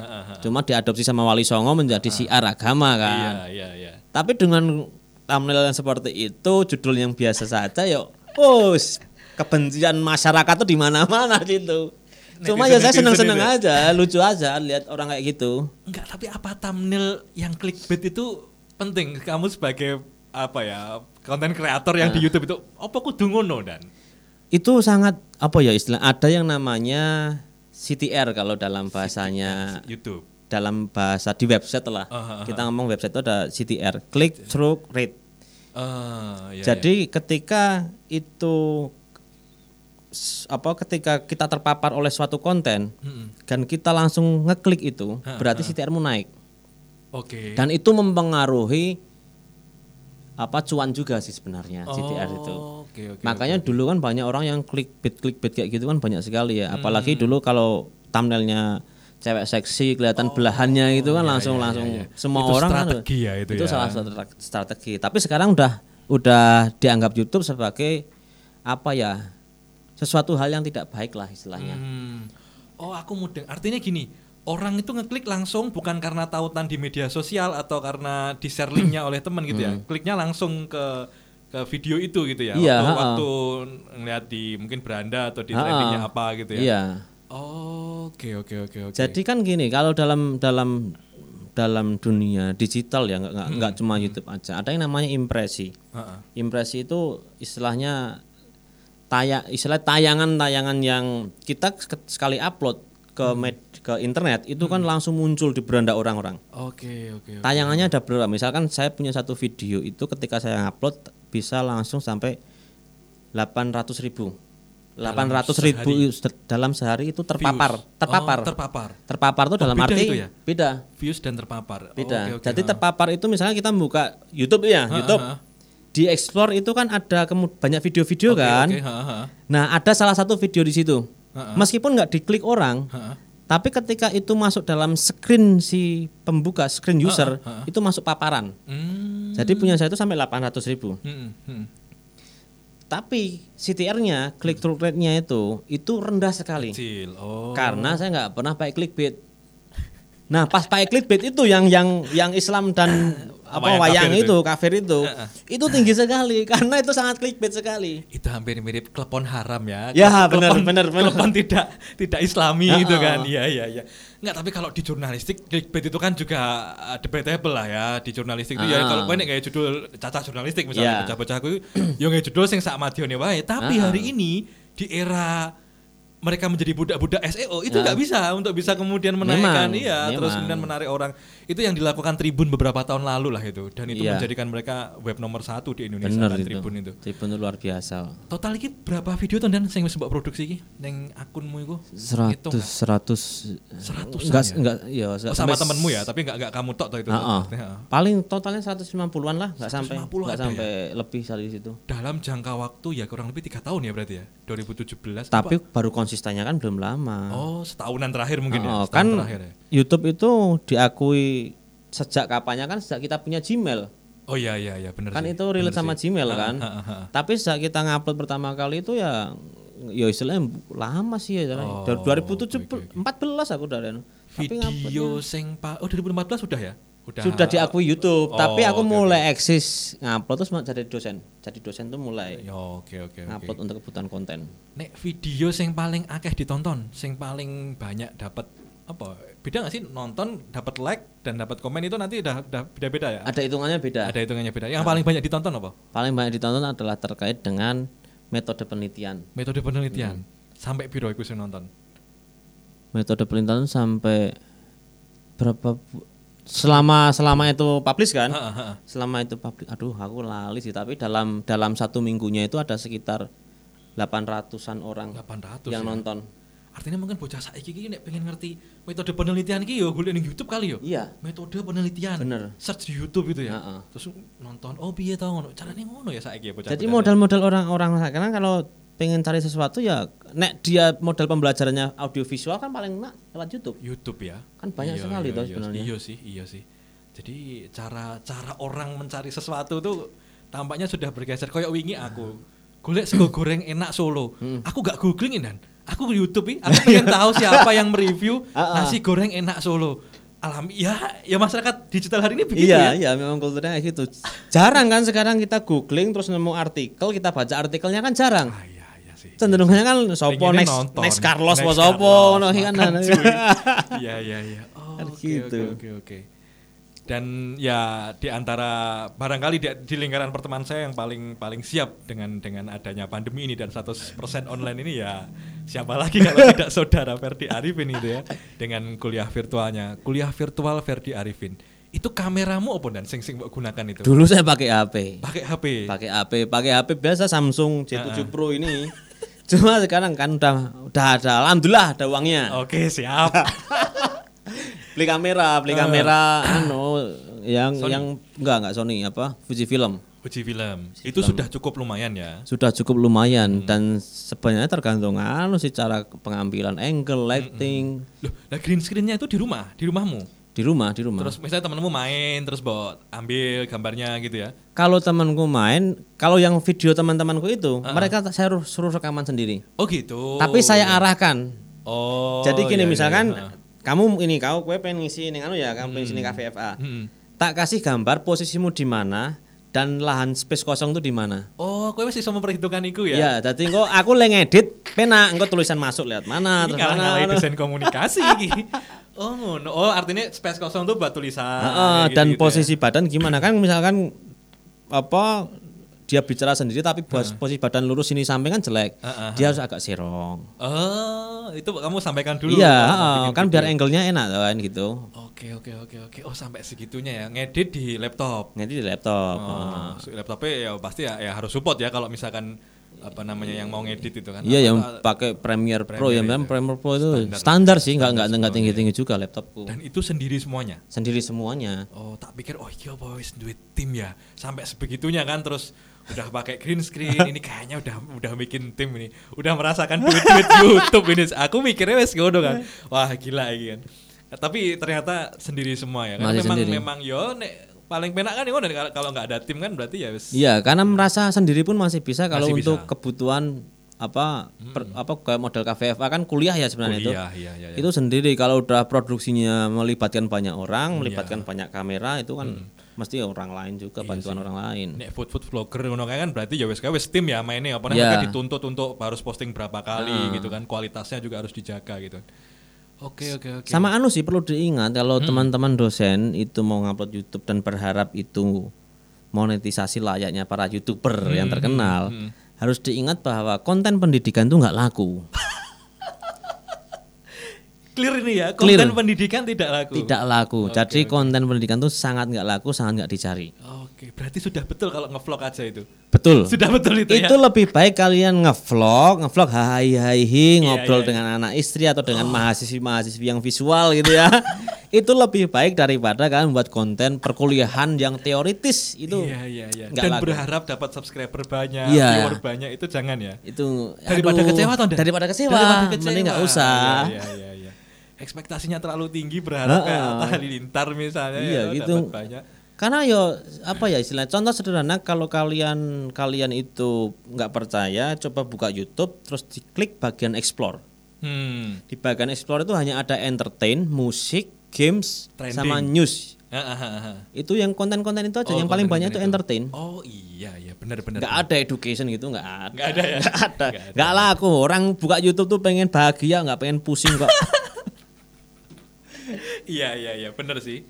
Cuma diadopsi sama Wali Songo menjadi siar agama
Iya
kan.
iya iya.
Tapi dengan thumbnail yang seperti itu, judul yang biasa saja ya, us kebencian masyarakat tuh di mana-mana gitu. Cuma ya saya
Netizen-netizen
seneng-seneng
itu.
aja, lucu aja lihat orang kayak gitu.
Enggak, tapi apa thumbnail yang clickbait itu penting kamu sebagai apa ya konten kreator yang di
Ah.
YouTube itu apa kudu ngono dan
Itu sangat apa ya istilah ada yang namanya CTR kalau dalam bahasanya
YouTube.
dalam bahasa di website lah.
Ah, ah,
Kita ngomong website itu ada CTR, click through rate.
Ah, iya, iya.
Jadi ketika itu s- apa ketika kita terpapar oleh suatu konten
Mm-mm.
dan kita langsung ngeklik itu berarti CTR-mu naik
Oke.
dan itu mempengaruhi apa cuan juga sih sebenarnya CTR itu.
Oke oke.
Makanya dulu kan banyak orang yang clickbait clickbait kayak gitu kan banyak sekali ya. Apalagi
Hmm.
dulu kalau thumbnailnya cewek seksi
Oh,
kelihatan belahannya itu
iya,
kan langsung langsung semua
Itu
orang kan-
strategi ya itu ya.
salah satu tra- strategi. Tapi sekarang udah udah dianggap YouTube sebagai apa ya? Sesuatu hal yang tidak baik lah istilahnya.
Hmm. Oh, aku mudeng. Artinya gini, orang itu ngeklik langsung bukan karena tautan di media sosial atau karena di-share
Hmm.
linknya oleh teman gitu ya. Kliknya langsung ke ke video itu gitu ya.
Iya,
waktu,
ha-ha.
waktu ngeliat di mungkin beranda atau di
Ha-ha.
trendingnya apa gitu ya.
Iya.
Oh, Oke oke oke oke.
Jadi kan gini, kalau dalam dalam dalam dunia digital ya nggak nggak
Hmm.
nggak cuma YouTube aja. Ada yang namanya impresi.
Ha-ha.
Impresi itu istilahnya taya istilah tayangan-tayangan yang kita sek- sekali upload ke
Hmm.
med- ke internet itu kan langsung muncul di beranda orang-orang.
Hmm. Oke oke. oke.
Tayangannya ada berapa? Misalkan saya punya satu video itu ketika saya upload bisa langsung sampai 800.000 ribu. 800 ribu dalam sehari itu terpapar,
Views. Oh,
terpapar.
terpapar.
terpapar itu dalam
beda
arti
itu ya?
beda,
Views dan terpapar.
beda.
Oke, oke,
Jadi
ha.
terpapar itu misalnya kita buka YouTube ya, YouTube.
ha.
Di explore itu kan ada kemu- banyak video-video
Oke,
kan.
oke, ha, ha.
Nah, ada salah satu video di situ.
Ha-ha.
Meskipun nggak diklik orang,
Ha, ha.
tapi ketika itu masuk dalam screen si pembuka, screen user,
Ha-ha.
itu masuk paparan.
Hmm.
Jadi punya saya itu sampai 800.000 ribu.
Hmm, hmm.
Tapi CTR-nya, click through rate-nya itu, itu rendah sekali.
Kecil. Oh.
Karena saya nggak pernah pakai clickbait. Nah, pas pakai clickbait itu yang yang yang Islam dan apa
Wayang
wayang
kafir
itu,
itu.
kafir itu. Itu tinggi sekali karena itu sangat clickbait sekali.
itu hampir mirip klepon haram ya.
Ya,
Kle-
benar,
klepon-
benar, benar.
Klepon tidak tidak Islami
Ya,
gitu
oh.
kan. Iya, iya, iya. Enggak, tapi kalau di jurnalistik clickbait itu kan juga uh, debatable lah ya di jurnalistik itu ya
Ah.
kalau banyak kayak judul cacat jurnalistik misalnya
Ya.
bocah-bocah aku yo kayak judul sing sak madione wae, tapi
Ah.
hari ini di era mereka menjadi budak-budak SEO itu
Ya.
nggak bisa untuk bisa kemudian menaikkan
Memang,
iya terus
memang.
kemudian menarik orang itu yang dilakukan Tribun beberapa tahun lalu lah itu dan itu
Iya.
menjadikan mereka web nomor satu di Indonesia
Bener
kan,
itu.
Tribun itu
Tribun itu luar biasa.
Total iki berapa video to dan sing wis mbok produksi iki ning akunmu iku? Hitung
Seratus,
nggak?
seratus,
Seratusan
enggak,
ya?
enggak, ya,
Oh, sama temenmu ya, tapi enggak enggak kamu tok to itu.
Heeh.
Maksudnya,
Paling totalnya 150-an lah, nggak sampai
150
nggak
ada ya?
sampai lebih dari situ.
Dalam jangka waktu ya kurang lebih tiga tahun ya berarti ya. 2017.
Tapi
apa?
baru konsistennya kan belum lama.
oh, setahunan terakhir mungkin ya.
Oh,
setahun
kan
terakhir ya.
YouTube itu diakui sejak kapannya kan sejak kita punya Gmail.
Oh iya iya iya bener
Kan
sih.
itu relate sama Gmail
Ah,
kan.
ah, ah, ah.
Tapi sejak kita ngupload pertama kali itu ya ya istilahnya lama sih ya
Oh,
dari 2017
oke,
14 aku dari tapi ngupload
Video sing pa- Oh 2014 sudah ya? Udah.
sudah diakui YouTube
Oh,
tapi aku
oke,
mulai eksis ngupload terus jadi dosen jadi dosen tuh mulai
Ya, Oke oke oke.
ngupload untuk kebutuhan konten
Nek video sing paling akeh ditonton, sing paling banyak dapat apa? Beda nggak sih nonton dapat like dan dapat komen itu nanti udah udah beda-beda ya?
ada hitungannya beda
Ada hitungannya beda. Yang paling banyak ditonton apa?
paling banyak ditonton adalah terkait dengan metode penelitian
Metode penelitian. Sampai piro iku sing nonton?
metode penelitian sampai berapa bu- selama selama itu publish kan
Heeh, heeh.
selama itu publish aduh aku lali sih tapi dalam dalam satu minggunya itu ada sekitar 800-an orang
800
yang
ya.
nonton
Artinya mungkin bocah saiki iki nek pengen ngerti metode penelitian iki yo golek ning YouTube kali yo.
iya
Metode penelitian.
Bener.
Search di YouTube itu ya.
Heeh.
Terus nonton oh piye ta ngono. Carane ngono ya saiki ya bocah.
jadi modal-modal orang-orang karena kalau pengen cari sesuatu ya nek dia modal pembelajarannya audiovisual kan paling enak lewat YouTube
YouTube ya.
Kan banyak sekali
iya,
toh
iya,
sebenarnya.
Iya sih, iya sih. Jadi cara cara orang mencari sesuatu tuh tampaknya sudah bergeser. Kayak wingi aku golek sego goreng enak Solo.
Hmm.
Aku gak googling dan aku ke YouTube ini, aku pengen tahu siapa yang mereview
Ah, ah.
nasi goreng enak Solo. Alam ya ya masyarakat digital hari ini begitu
Iya,
ya.
iya memang kulturnya kayak gitu. Jarang kan sekarang kita googling terus nemu artikel, kita baca artikelnya kan jarang.
Ah, iya, iya sih.
Cenderungnya kan sopo
Pengennya
next
nonton.
next Carlos
Next
apa sopo
Carlos,
ngono iki kan.
makan cuy. Iya iya iya. Oh,
Kan
oke oke
gitu.
oke oke. Dan ya di antara barangkali di, di lingkaran pertemanan saya yang paling paling siap dengan dengan adanya pandemi ini dan 100% online ini ya siapa lagi kalau tidak saudara Ferdi Arifin itu ya dengan kuliah virtualnya. Kuliah virtual Ferdi Arifin. Itu kameramu apa dan sing sing mbok gunakan itu?
Dulu saya pakai HP.
Pakai HP.
Pakai HP, pakai HP biasa Samsung J7 Pro ini. Cuma sekarang kan udah udah ada alhamdulillah ada uangnya.
Oke, siap.
Beli kamera, beli kamera anu yang yang enggak enggak Sony apa Fuji Film.
Uji film. Itu sudah cukup lumayan ya.
sudah cukup
Hmm.
lumayan dan sebenarnya tergantung anu sih cara pengambilan
Hmm.
angle lighting
Loh, nah green screen-nya itu di rumah, di rumahmu.
di rumah di rumah
Terus misalnya temenmu main, terus bawa ambil gambarnya gitu ya.
kalau temanku main kalau yang video teman-temanku itu mereka t- saya ru- suruh rekaman sendiri
Oh gitu.
tapi saya arahkan
Oh.
jadi gini
iya, iya,
misalkan
iya.
kamu ini kau kue pengen ngisi ini anu ya kamu pengen ngisi ini KVFA
Hmm.
tak kasih gambar posisimu di mana dan lahan space kosong itu di mana
Oh, kowe wis iso memperhitungkan iku ya.
Iya, jadi engko aku lagi ngedit, penak engko tulisan masuk lihat mana,
Ini
terus
kalah Ah,
mana,
ngalahin
mana.
desain komunikasi iki. Oh, ngono. Oh, artinya space kosong tuh buat tulisan.
Heeh,
kayak
dan
gitu-gitu ya.
posisi badan gimana kan misalkan apa dia bicara sendiri tapi
Ah.
pos- posisi badan lurus ini samping kan jelek.
Heeh,
Dia harus agak serong.
Oh, itu kamu sampaikan dulu. gitu
Iya,
kalau mau
heeh,
bikin
kan
video.
biar angle-nya enak kan gitu.
Oke, oke, oke, oke. Oh, sampai segitunya ya. Ngedit di laptop.
Nanti di laptop. heeh.
Oh, laptopnya ya pasti ya, ya harus support ya kalau misalkan apa namanya yang mau ngedit itu kan. Apa-
Iya yang pakai Premiere Pro
Premiere
yang memang
itu.
Premiere Pro itu
Standar.
standar, sih nggak nggak nggak tinggi tinggi juga laptopku
Dan itu sendiri semuanya.
sendiri semuanya
Oh, tak pikir oh iya apa wis duit tim ya. Sampai sebegitunya kan terus udah pakai green screen ini kayaknya udah udah bikin tim ini. Udah merasakan duit-duit YouTube ini. Aku mikirnya wis ngono kan. Wah, gila iki kan. Eh, Tapi ternyata sendiri semua ya. Karena
Masih
memang
sendiri.
memang yo nek paling penak kan ngono kalau- kalau nggak ada tim kan berarti ya wis
Iya, karena merasa sendiri pun masih bisa kalau
Masih
untuk
bisa. Hmm.
kebutuhan apa per- apa kayak model KVFA kan kuliah ya sebenarnya
Kuliah,
itu.
iya, iya, iya. Iya.
Itu sendiri kalau udah produksinya melibatkan banyak orang, melibatkan banyak kamera itu kan
Hmm.
mesti orang lain juga
Iya
bantuan orang lain
Nek food food vlogger ngono kae kan berarti ya wis kae wis tim ya mainnya apa
Ya. Ah.
mereka dituntut untuk harus posting berapa kali gitu kan kualitasnya juga harus dijaga gitu. Oke oke oke.
Sama anu sih perlu diingat kalau teman-teman dosen itu mau ngupload YouTube dan berharap itu monetisasi layaknya para youtuber yang terkenal, harus diingat bahwa konten pendidikan itu nggak laku,
Clear ini ya konten
Clear.
pendidikan tidak laku.
tidak laku. Jadi konten pendidikan itu sangat nggak laku, sangat nggak dicari.
Oke berarti sudah betul kalau ngevlog aja itu.
Betul.
Sudah betul itu, ya.
Itu lebih baik kalian ngevlog, ngevlog hai hai hi, ngobrol dengan anak istri atau dengan mahasiswi-mahasiswi yang visual gitu ya. itu lebih baik daripada kalian buat konten perkuliahan yang teoritis itu.
Iya iya iya.
nggak
Dan
laku.
berharap dapat subscriber banyak,
Iya.
viewer banyak itu jangan ya.
itu
Daripada
aduh,
kecewa toh, Dan?
daripada kecewa mending nggak usah
Iya iya iya. iya. Ekspektasinya terlalu tinggi berharap kayak Atta Halilintar misalnya
iya
ya,
gitu
dapat banyak.
karena yo apa ya istilah contoh sederhana kalau kalian kalian itu nggak percaya coba buka YouTube terus diklik bagian explore
Hmm.
di bagian explore itu hanya ada entertain musik games
Trending.
sama news
Ah, ah, ah, ah.
itu yang konten-konten itu aja
Oh,
yang paling
konten-konten
banyak itu entertain
Oh iya iya benar-benar.
nggak ada education gitu nggak ada
Nggak ada ya?
nggak ada nggak laku orang buka YouTube tuh pengen bahagia nggak pengen pusing kok
Iya iya iya benar sih.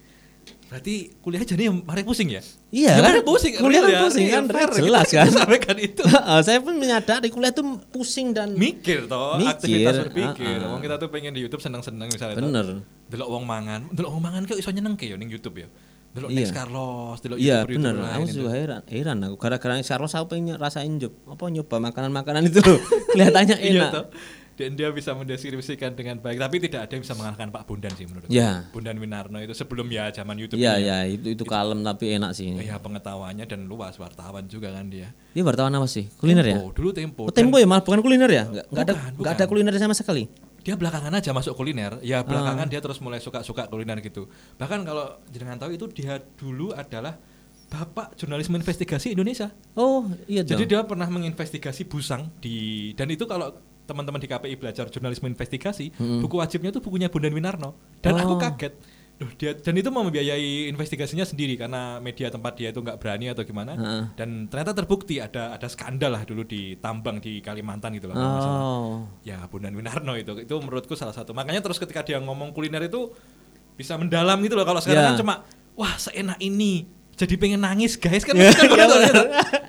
Berarti kuliah jadi mari pusing ya?
Iya,
ya,
kan?
mari pusing.
Kuliah kan
real ya,
pusing,
real
kan?
fair.
Jelas,
Kita-
kan?
kita sampaikan itu.
Heeh, saya pun menyadari kuliah itu pusing dan
Mikir toh,
Mikir,
aktivitas berpikir.
ah, ah.
Wong kita tuh pengen di YouTube seneng-seneng misalnya. toh.
bener
Delok wong mangan, delok wong mangan kok iso nyenengke ya ning YouTube ya. Delok
Iya.
Next Carlos, delok
iya
YouTuber-YouTuber
bener
lain
aku
itu.
juga heran heran aku gara-gara Charles aku pengen rasain job apa nyoba makanan-makanan itu kelihatannya
Iya
enak
toh. Dan dia bisa mendeskripsikan dengan baik, tapi tidak ada yang bisa mengalahkan Pak Bundan sih menurut
Iya.
aku. Bundan Winarno itu sebelum ya zaman YouTube.
iya
ini
iya itu
Gitu.
itu kalem tapi enak sih
Ya pengetahuannya dan luas wartawan juga kan dia.
ini wartawan apa sih kuliner ya
Tempo, dulu tempo.
Oh, tempo ya malah bukan kuliner ya nggak nggak ada
Bukan,
nggak ada kuliner sama sekali
Dia belakangan aja masuk kuliner. Ya belakangan dia terus mulai suka-suka kuliner gitu. Bahkan kalau jenengan tahu itu dia dulu adalah bapak jurnalisme investigasi Indonesia.
oh iya
Jadi
dong
dia pernah menginvestigasi busang di dan itu kalau teman-teman di KPI belajar jurnalisme investigasi, buku wajibnya itu bukunya Bondan Winarno. Dan aku
Oh.
kaget. Loh, dia dan itu mau membiayai investigasinya sendiri karena media tempat dia itu nggak berani atau gimana.
Heeh.
Dan ternyata terbukti ada ada skandal lah dulu di tambang di Kalimantan gitu loh. kalau nggak salah.
oh
Ya Bondan Winarno itu itu menurutku salah satu. Makanya terus ketika dia ngomong kuliner itu bisa mendalam gitu loh. Kalau sekarang
Ya.
kan cuma wah seenak ini. Jadi pengen nangis guys
Ya.
kan bukan gitu, gitu.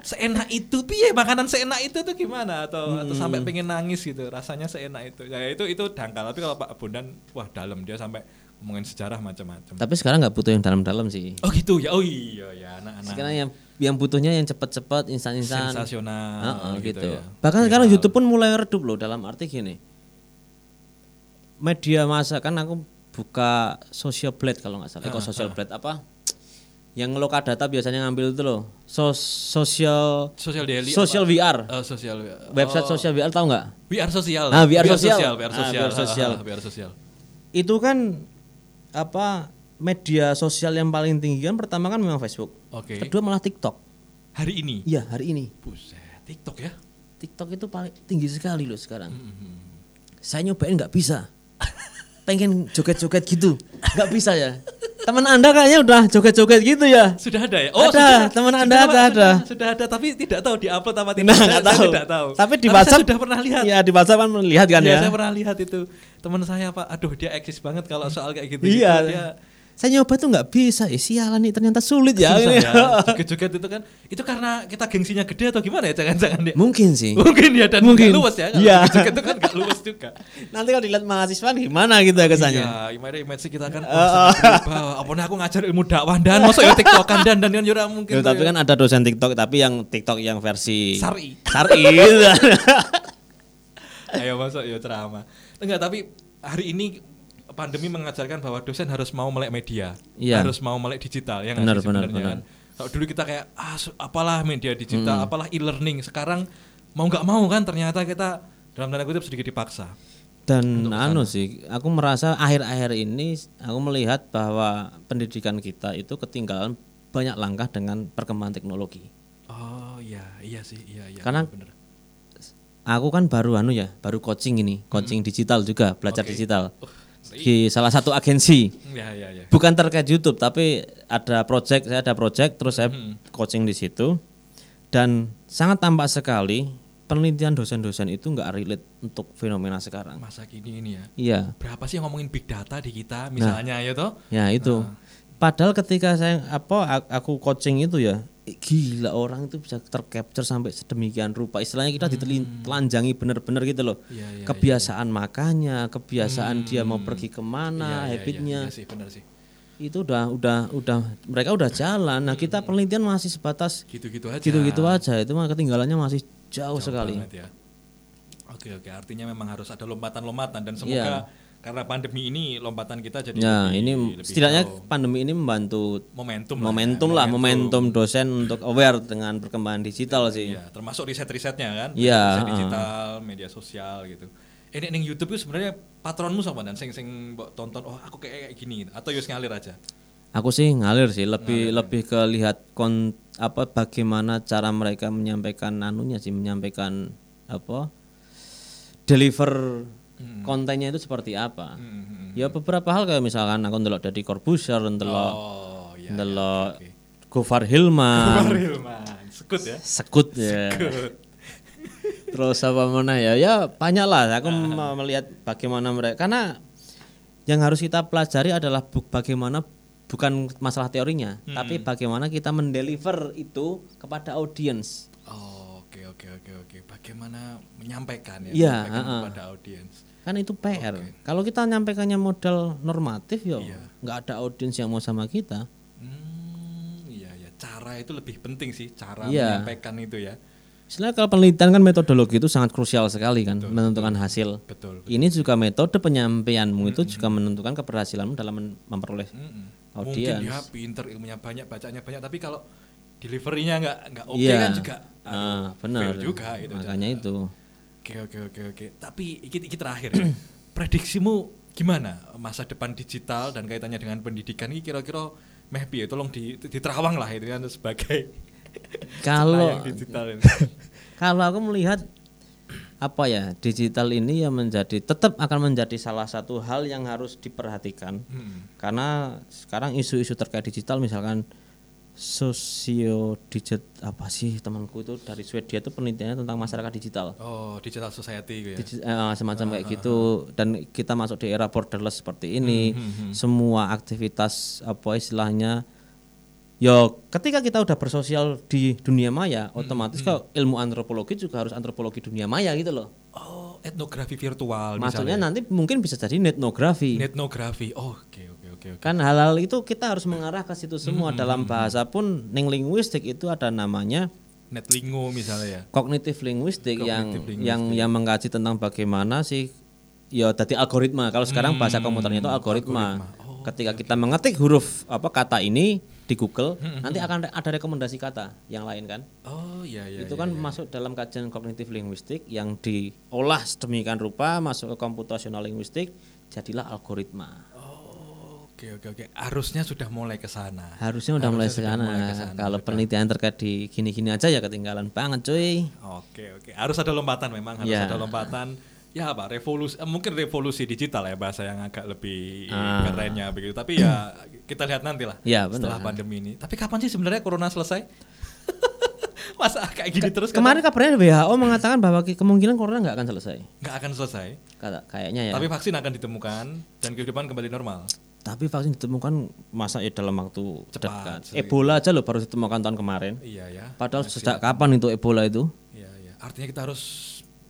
Seenak itu piye makanan seenak itu tuh gimana atau
Hmm.
atau sampai pengen nangis gitu. Rasanya seenak itu. Ya itu itu dangkal tapi kalau Pak Bondan wah dalam dia sampai ngomongin sejarah macam-macam.
tapi sekarang nggak butuh yang dalam-dalam sih
Oh gitu ya. Oh iya ya anak-anak
sekarang yang yang butuhnya yang cepat-cepat instan-instan
sensasional
Heeh,
gitu,
gitu.
ya.
Bahkan sekarang YouTube pun mulai redup loh dalam arti gini. Media massa kan aku buka social blade kalau nggak salah. Eh, kok social blade apa? Yang loka data biasanya ngambil itu loh. Sos social
Social Daily.
social VR.
apa? Eh, social.
Website social VR tahu nggak?
VR sosial.
Ah, VR sosial.
VR
Ah,
sosial.
VR sosial.
Ah, VR sosial.
Itu kan apa media sosial yang paling tinggi kan pertama kan memang Facebook.
Oke.
Kedua malah TikTok.
Hari ini.
Iya, hari ini.
Buset, TikTok ya.
TikTok itu paling tinggi sekali loh sekarang.
Hmm,
Saya nyobain nggak bisa. Pengen joget-joget gitu, nggak bisa ya. Teman Anda kayaknya udah joget-joget gitu ya.
Sudah ada ya?
Ada,
sudah.
teman
Sudah,
Anda
Pak,
ada, ada.
Sudah, sudah ada, tapi tidak tahu di-upload apa tidak.
Nah,
Saya-
nggak
saya
tahu.
Tidak tahu.
Tapi di
Tapi saya
WhatsApp
sudah pernah lihat.
Iya, di WhatsApp kan melihat kan
Iya,
ya.
saya pernah lihat itu. Teman saya, Pak, aduh dia eksis banget kalau soal kayak gitu.
Iya.
Dia
Saya nyoba tuh nggak bisa. Eh, sialan nih ternyata sulit ya.
susah
Ini.
ya. Joget-joget itu kan. Itu karena kita gengsinya gede atau gimana ya? Jangan-jangan ya.
Mungkin sih.
Mungkin ya dan
Mungkin.
nggak luas ya. Kalau
Iya.
Joget itu kan nggak luas juga.
Nanti kalau dilihat mahasiswa gimana gitu ya kesannya.
Iya, image image kita kan
Oh.
wah, sangat berubah. Apa nih aku ngajar ilmu dakwah dan masa ya TikTokan dan dan kan ora mungkin.
Ya,
tuh
tapi
ya.
kan ada dosen TikTok tapi yang TikTok yang versi
Sari.
Sari.
Ayo masuk ya ceramah. Enggak, tapi hari ini pandemi mengajarkan bahwa dosen harus mau melek media,
Iya.
harus mau melek digital yang
Benar, benar, Hmm.
kan. Kalau dulu kita kayak ah su- apalah media digital, apalah e-learning. Sekarang mau nggak mau kan ternyata kita dalam tanda kutip sedikit dipaksa.
Dan anu sih, aku merasa akhir-akhir ini aku melihat bahwa pendidikan kita itu ketinggalan banyak langkah dengan perkembangan teknologi.
Oh iya, iya sih, iya iya.
Karena-
benar.
Aku kan baru anu ya, baru coaching ini, coaching digital juga, belajar digital. di salah satu agensi
Ya ya ya.
bukan terkait YouTube tapi ada project saya ada project terus saya coaching di situ dan sangat tampak sekali penelitian dosen-dosen itu nggak relate untuk fenomena sekarang
Masa kini ini ya.
iya
Berapa sih yang ngomongin big data di kita misalnya ya toh?
ya itu padahal ketika saya apa a- aku coaching itu ya eh, gila orang itu bisa tercapture sampai sedemikian rupa istilahnya kita ditelanjangi bener-bener gitu loh
Hmm. Iya iya. Hmm.
kebiasaan makannya kebiasaan dia mau pergi kemana
iya,
habitnya
Iya sih benar sih.
itu udah udah udah mereka udah jalan nah kita
Hmm.
penelitian masih sebatas
Gitu-gitu aja.
gitu-gitu aja itu mah ketinggalannya masih jauh sekali
Nah. banget ya. Oke oke, artinya memang harus ada lompatan-lompatan dan semoga karena pandemi ini lompatan kita jadi lebih-
ya Iya. ini
lebih
setidaknya
jauh. Ya,
pandemi ini membantu
momentum lah.
momentum lah momentum dosen untuk aware dengan perkembangan digital sih
Iya, termasuk riset-risetnya kan.
Iya,
Riset digital, media sosial gitu. Ini ning YouTube itu sebenarnya patronmu sama dan sing sing mbok tonton oh aku kayak kayak gini atau yus ngalir aja.
aku sih ngalir sih lebih
ya.
lebih ke lihat kon apa bagaimana cara mereka menyampaikan anunya sih menyampaikan apa deliver kontennya itu seperti apa
Hmm, hmm.
ya beberapa hal kayak misalkan aku ndelok dari Corbusier ndelok
Oh, iya.
ndelok Gofar Hilman
Hilman, sekut ya.
sekut ya terus apa mana ya ya banyak lah aku mau melihat bagaimana mereka karena yang harus kita pelajari adalah bu- bagaimana bukan masalah teorinya tapi bagaimana kita mendeliver itu kepada audiens
Oh, oke oke oke oke. Bagaimana menyampaikan ya,
Iya,
menyampaikan
heeh.
kepada audiens.
kan itu PR kalau kita nyampaikannya model normatif ya nggak ada audiens yang mau sama kita
Hmm, iya ya. Cara itu lebih penting sih, cara
Iya.
menyampaikan itu ya.
Sebenarnya kalau penelitian kan metodologi itu sangat krusial sekali kan menentukan hasil.
Betul.
Ini juga metode penyampaianmu itu juga menentukan keberhasilanmu dalam men- memperoleh.
Mm-mm. Hmm, Mungkin
Audiens.
dia pinter ilmunya banyak, bacanya banyak, tapi kalau deliverynya nggak nggak oke
Iya.
kan juga.
Ah, benar.
fail juga gitu.
Makanya itu.
Oke oke oke oke. Tapi iki iki terakhir. ya. Prediksimu gimana masa depan digital dan kaitannya dengan pendidikan ini kira-kira meh piye tolong di diterawang lah itu kan sebagai
Kalau
layang digital ini.
kalau aku melihat apa ya digital ini ya menjadi tetap akan menjadi salah satu hal yang harus diperhatikan
Hmm.
karena sekarang isu-isu terkait digital misalkan sosio digit apa sih temanku itu dari Swedia itu penelitiannya tentang masyarakat digital
Oh, digital society gitu ya.
Digi- eh, semacam kayak gitu dan kita masuk di era borderless seperti ini semua aktivitas apa istilahnya yo ketika kita udah bersosial di dunia maya otomatis kalau ilmu antropologi juga harus antropologi dunia maya gitu loh
Oh, etnografi virtual
maksudnya
misalnya.
nanti mungkin bisa jadi netnografi
Etnografi. Oh, oke oke oke oke.
kan hal-hal itu kita harus mengarah ke situ semua dalam bahasa pun ning linguistik itu ada namanya
Netlingo misalnya ya.
kognitif linguistik yang yang yang mengkaji tentang bagaimana sih ya tadi algoritma kalau sekarang bahasa komputernya itu Hmm. algoritma, Oh, ketika kita mengetik huruf apa kata ini di Google nanti akan ada rekomendasi kata yang lain kan
Oh, iya iya.
itu kan masuk dalam kajian kognitif linguistik yang diolah sedemikian rupa masuk ke computational linguistik jadilah algoritma
Oke oke oke. Harusnya sudah mulai ke sana.
harusnya udah mulai sekarang kalau penelitian terkait di gini-gini aja ya ketinggalan banget cuy
Oke oke. Harus ada lompatan memang harus
Ya.
ada lompatan. Ya apa revolusi eh, mungkin revolusi digital ya bahasa yang agak lebih kerennya begitu. Tapi ya kita lihat nanti lah
Ya, Ah. benar.
setelah pandemi ini. Tapi kapan sih sebenarnya corona selesai? Masa kayak gini terus kan
kemarin kabarnya WHO mengatakan bahwa ke- kemungkinan corona nggak akan selesai
nggak akan selesai.
kata kayaknya ya.
Tapi
Tapi,
vaksin akan ditemukan dan kehidupan kembali normal.
vaksin ditemukan masa ya dalam waktu
Cepat,
dekat. Ebola aja loh baru ditemukan tahun kemarin.
Iya ya.
Padahal sejak kapan itu Ebola itu?
Iya ya. Artinya kita harus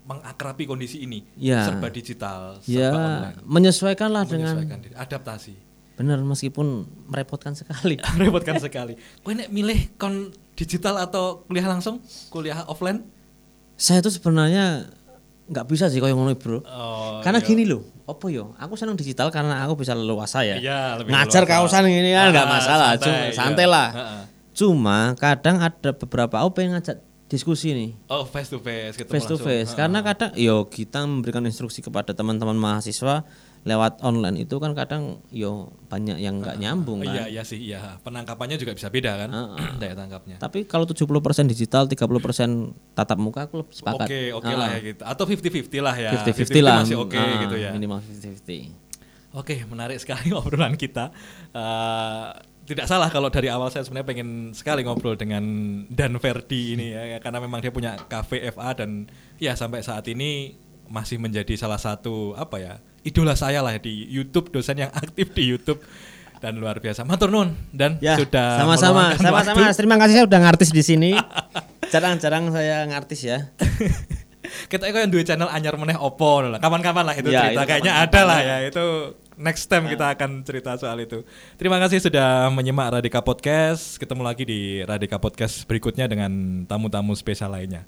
mengakrapi kondisi ini
Ya.
serba digital, serba
Ya
online,
menyesuaikanlah dengan
menyesuaikan diri, adaptasi.
benar meskipun merepotkan sekali.
Merepotkan sekali. Kowe nek milih kon digital atau kuliah langsung, kuliah offline?
Saya itu sebenarnya nggak bisa sih kayak ngono bro.
Oh,
karena gini loh, opo yo, aku senang digital karena aku bisa leluasa ya.
Iya, lebih
Ngajar
leluasa.
kaosan ini kan nggak
Ah,
masalah,
santai,
santai,
iya.
santai lah.
Ha-ha.
Cuma kadang ada beberapa aku pengen ngajak diskusi nih.
Oh, face to face ketemu
face to
langsung.
face karena kadang yo kita memberikan instruksi kepada teman-teman mahasiswa lewat online itu kan kadang yo banyak yang nggak nyambung
Oh,
kan.
Iya, iya sih, iya. Penangkapannya juga bisa beda kan? Daya tangkapnya.
Tapi kalau 70% digital, 30% tatap muka aku lebih sepakat.
Oke, oke lah ya gitu. Atau 50-50 lah ya.
50-50 lah.
Masih oke
Ah,
gitu ya.
Minimal 50-50.
Oke, menarik sekali obrolan kita. Eh, tidak salah kalau dari awal saya sebenarnya pengen sekali ngobrol dengan Dan Verdi ini ya, karena memang dia punya kafe FA dan ya sampai saat ini masih menjadi salah satu apa ya idola saya lah di YouTube dosen yang aktif di YouTube dan luar biasa. Matur nuwun dan
Ya,
sudah meluangkan
sama-sama,
waktu.
sama-sama. Terima kasih saya udah ngartis di sini. Jarang-jarang saya ngartis ya.
kita kok yang dua channel anyar meneh opo lah. Kapan-kapan lah itu
Ya,
cerita.
itu
Kayaknya
kapan-kapan
ada lah ya itu next time kita akan cerita soal itu. Terima kasih sudah menyimak Radika Podcast. Ketemu lagi di Radika Podcast berikutnya dengan tamu-tamu spesial lainnya.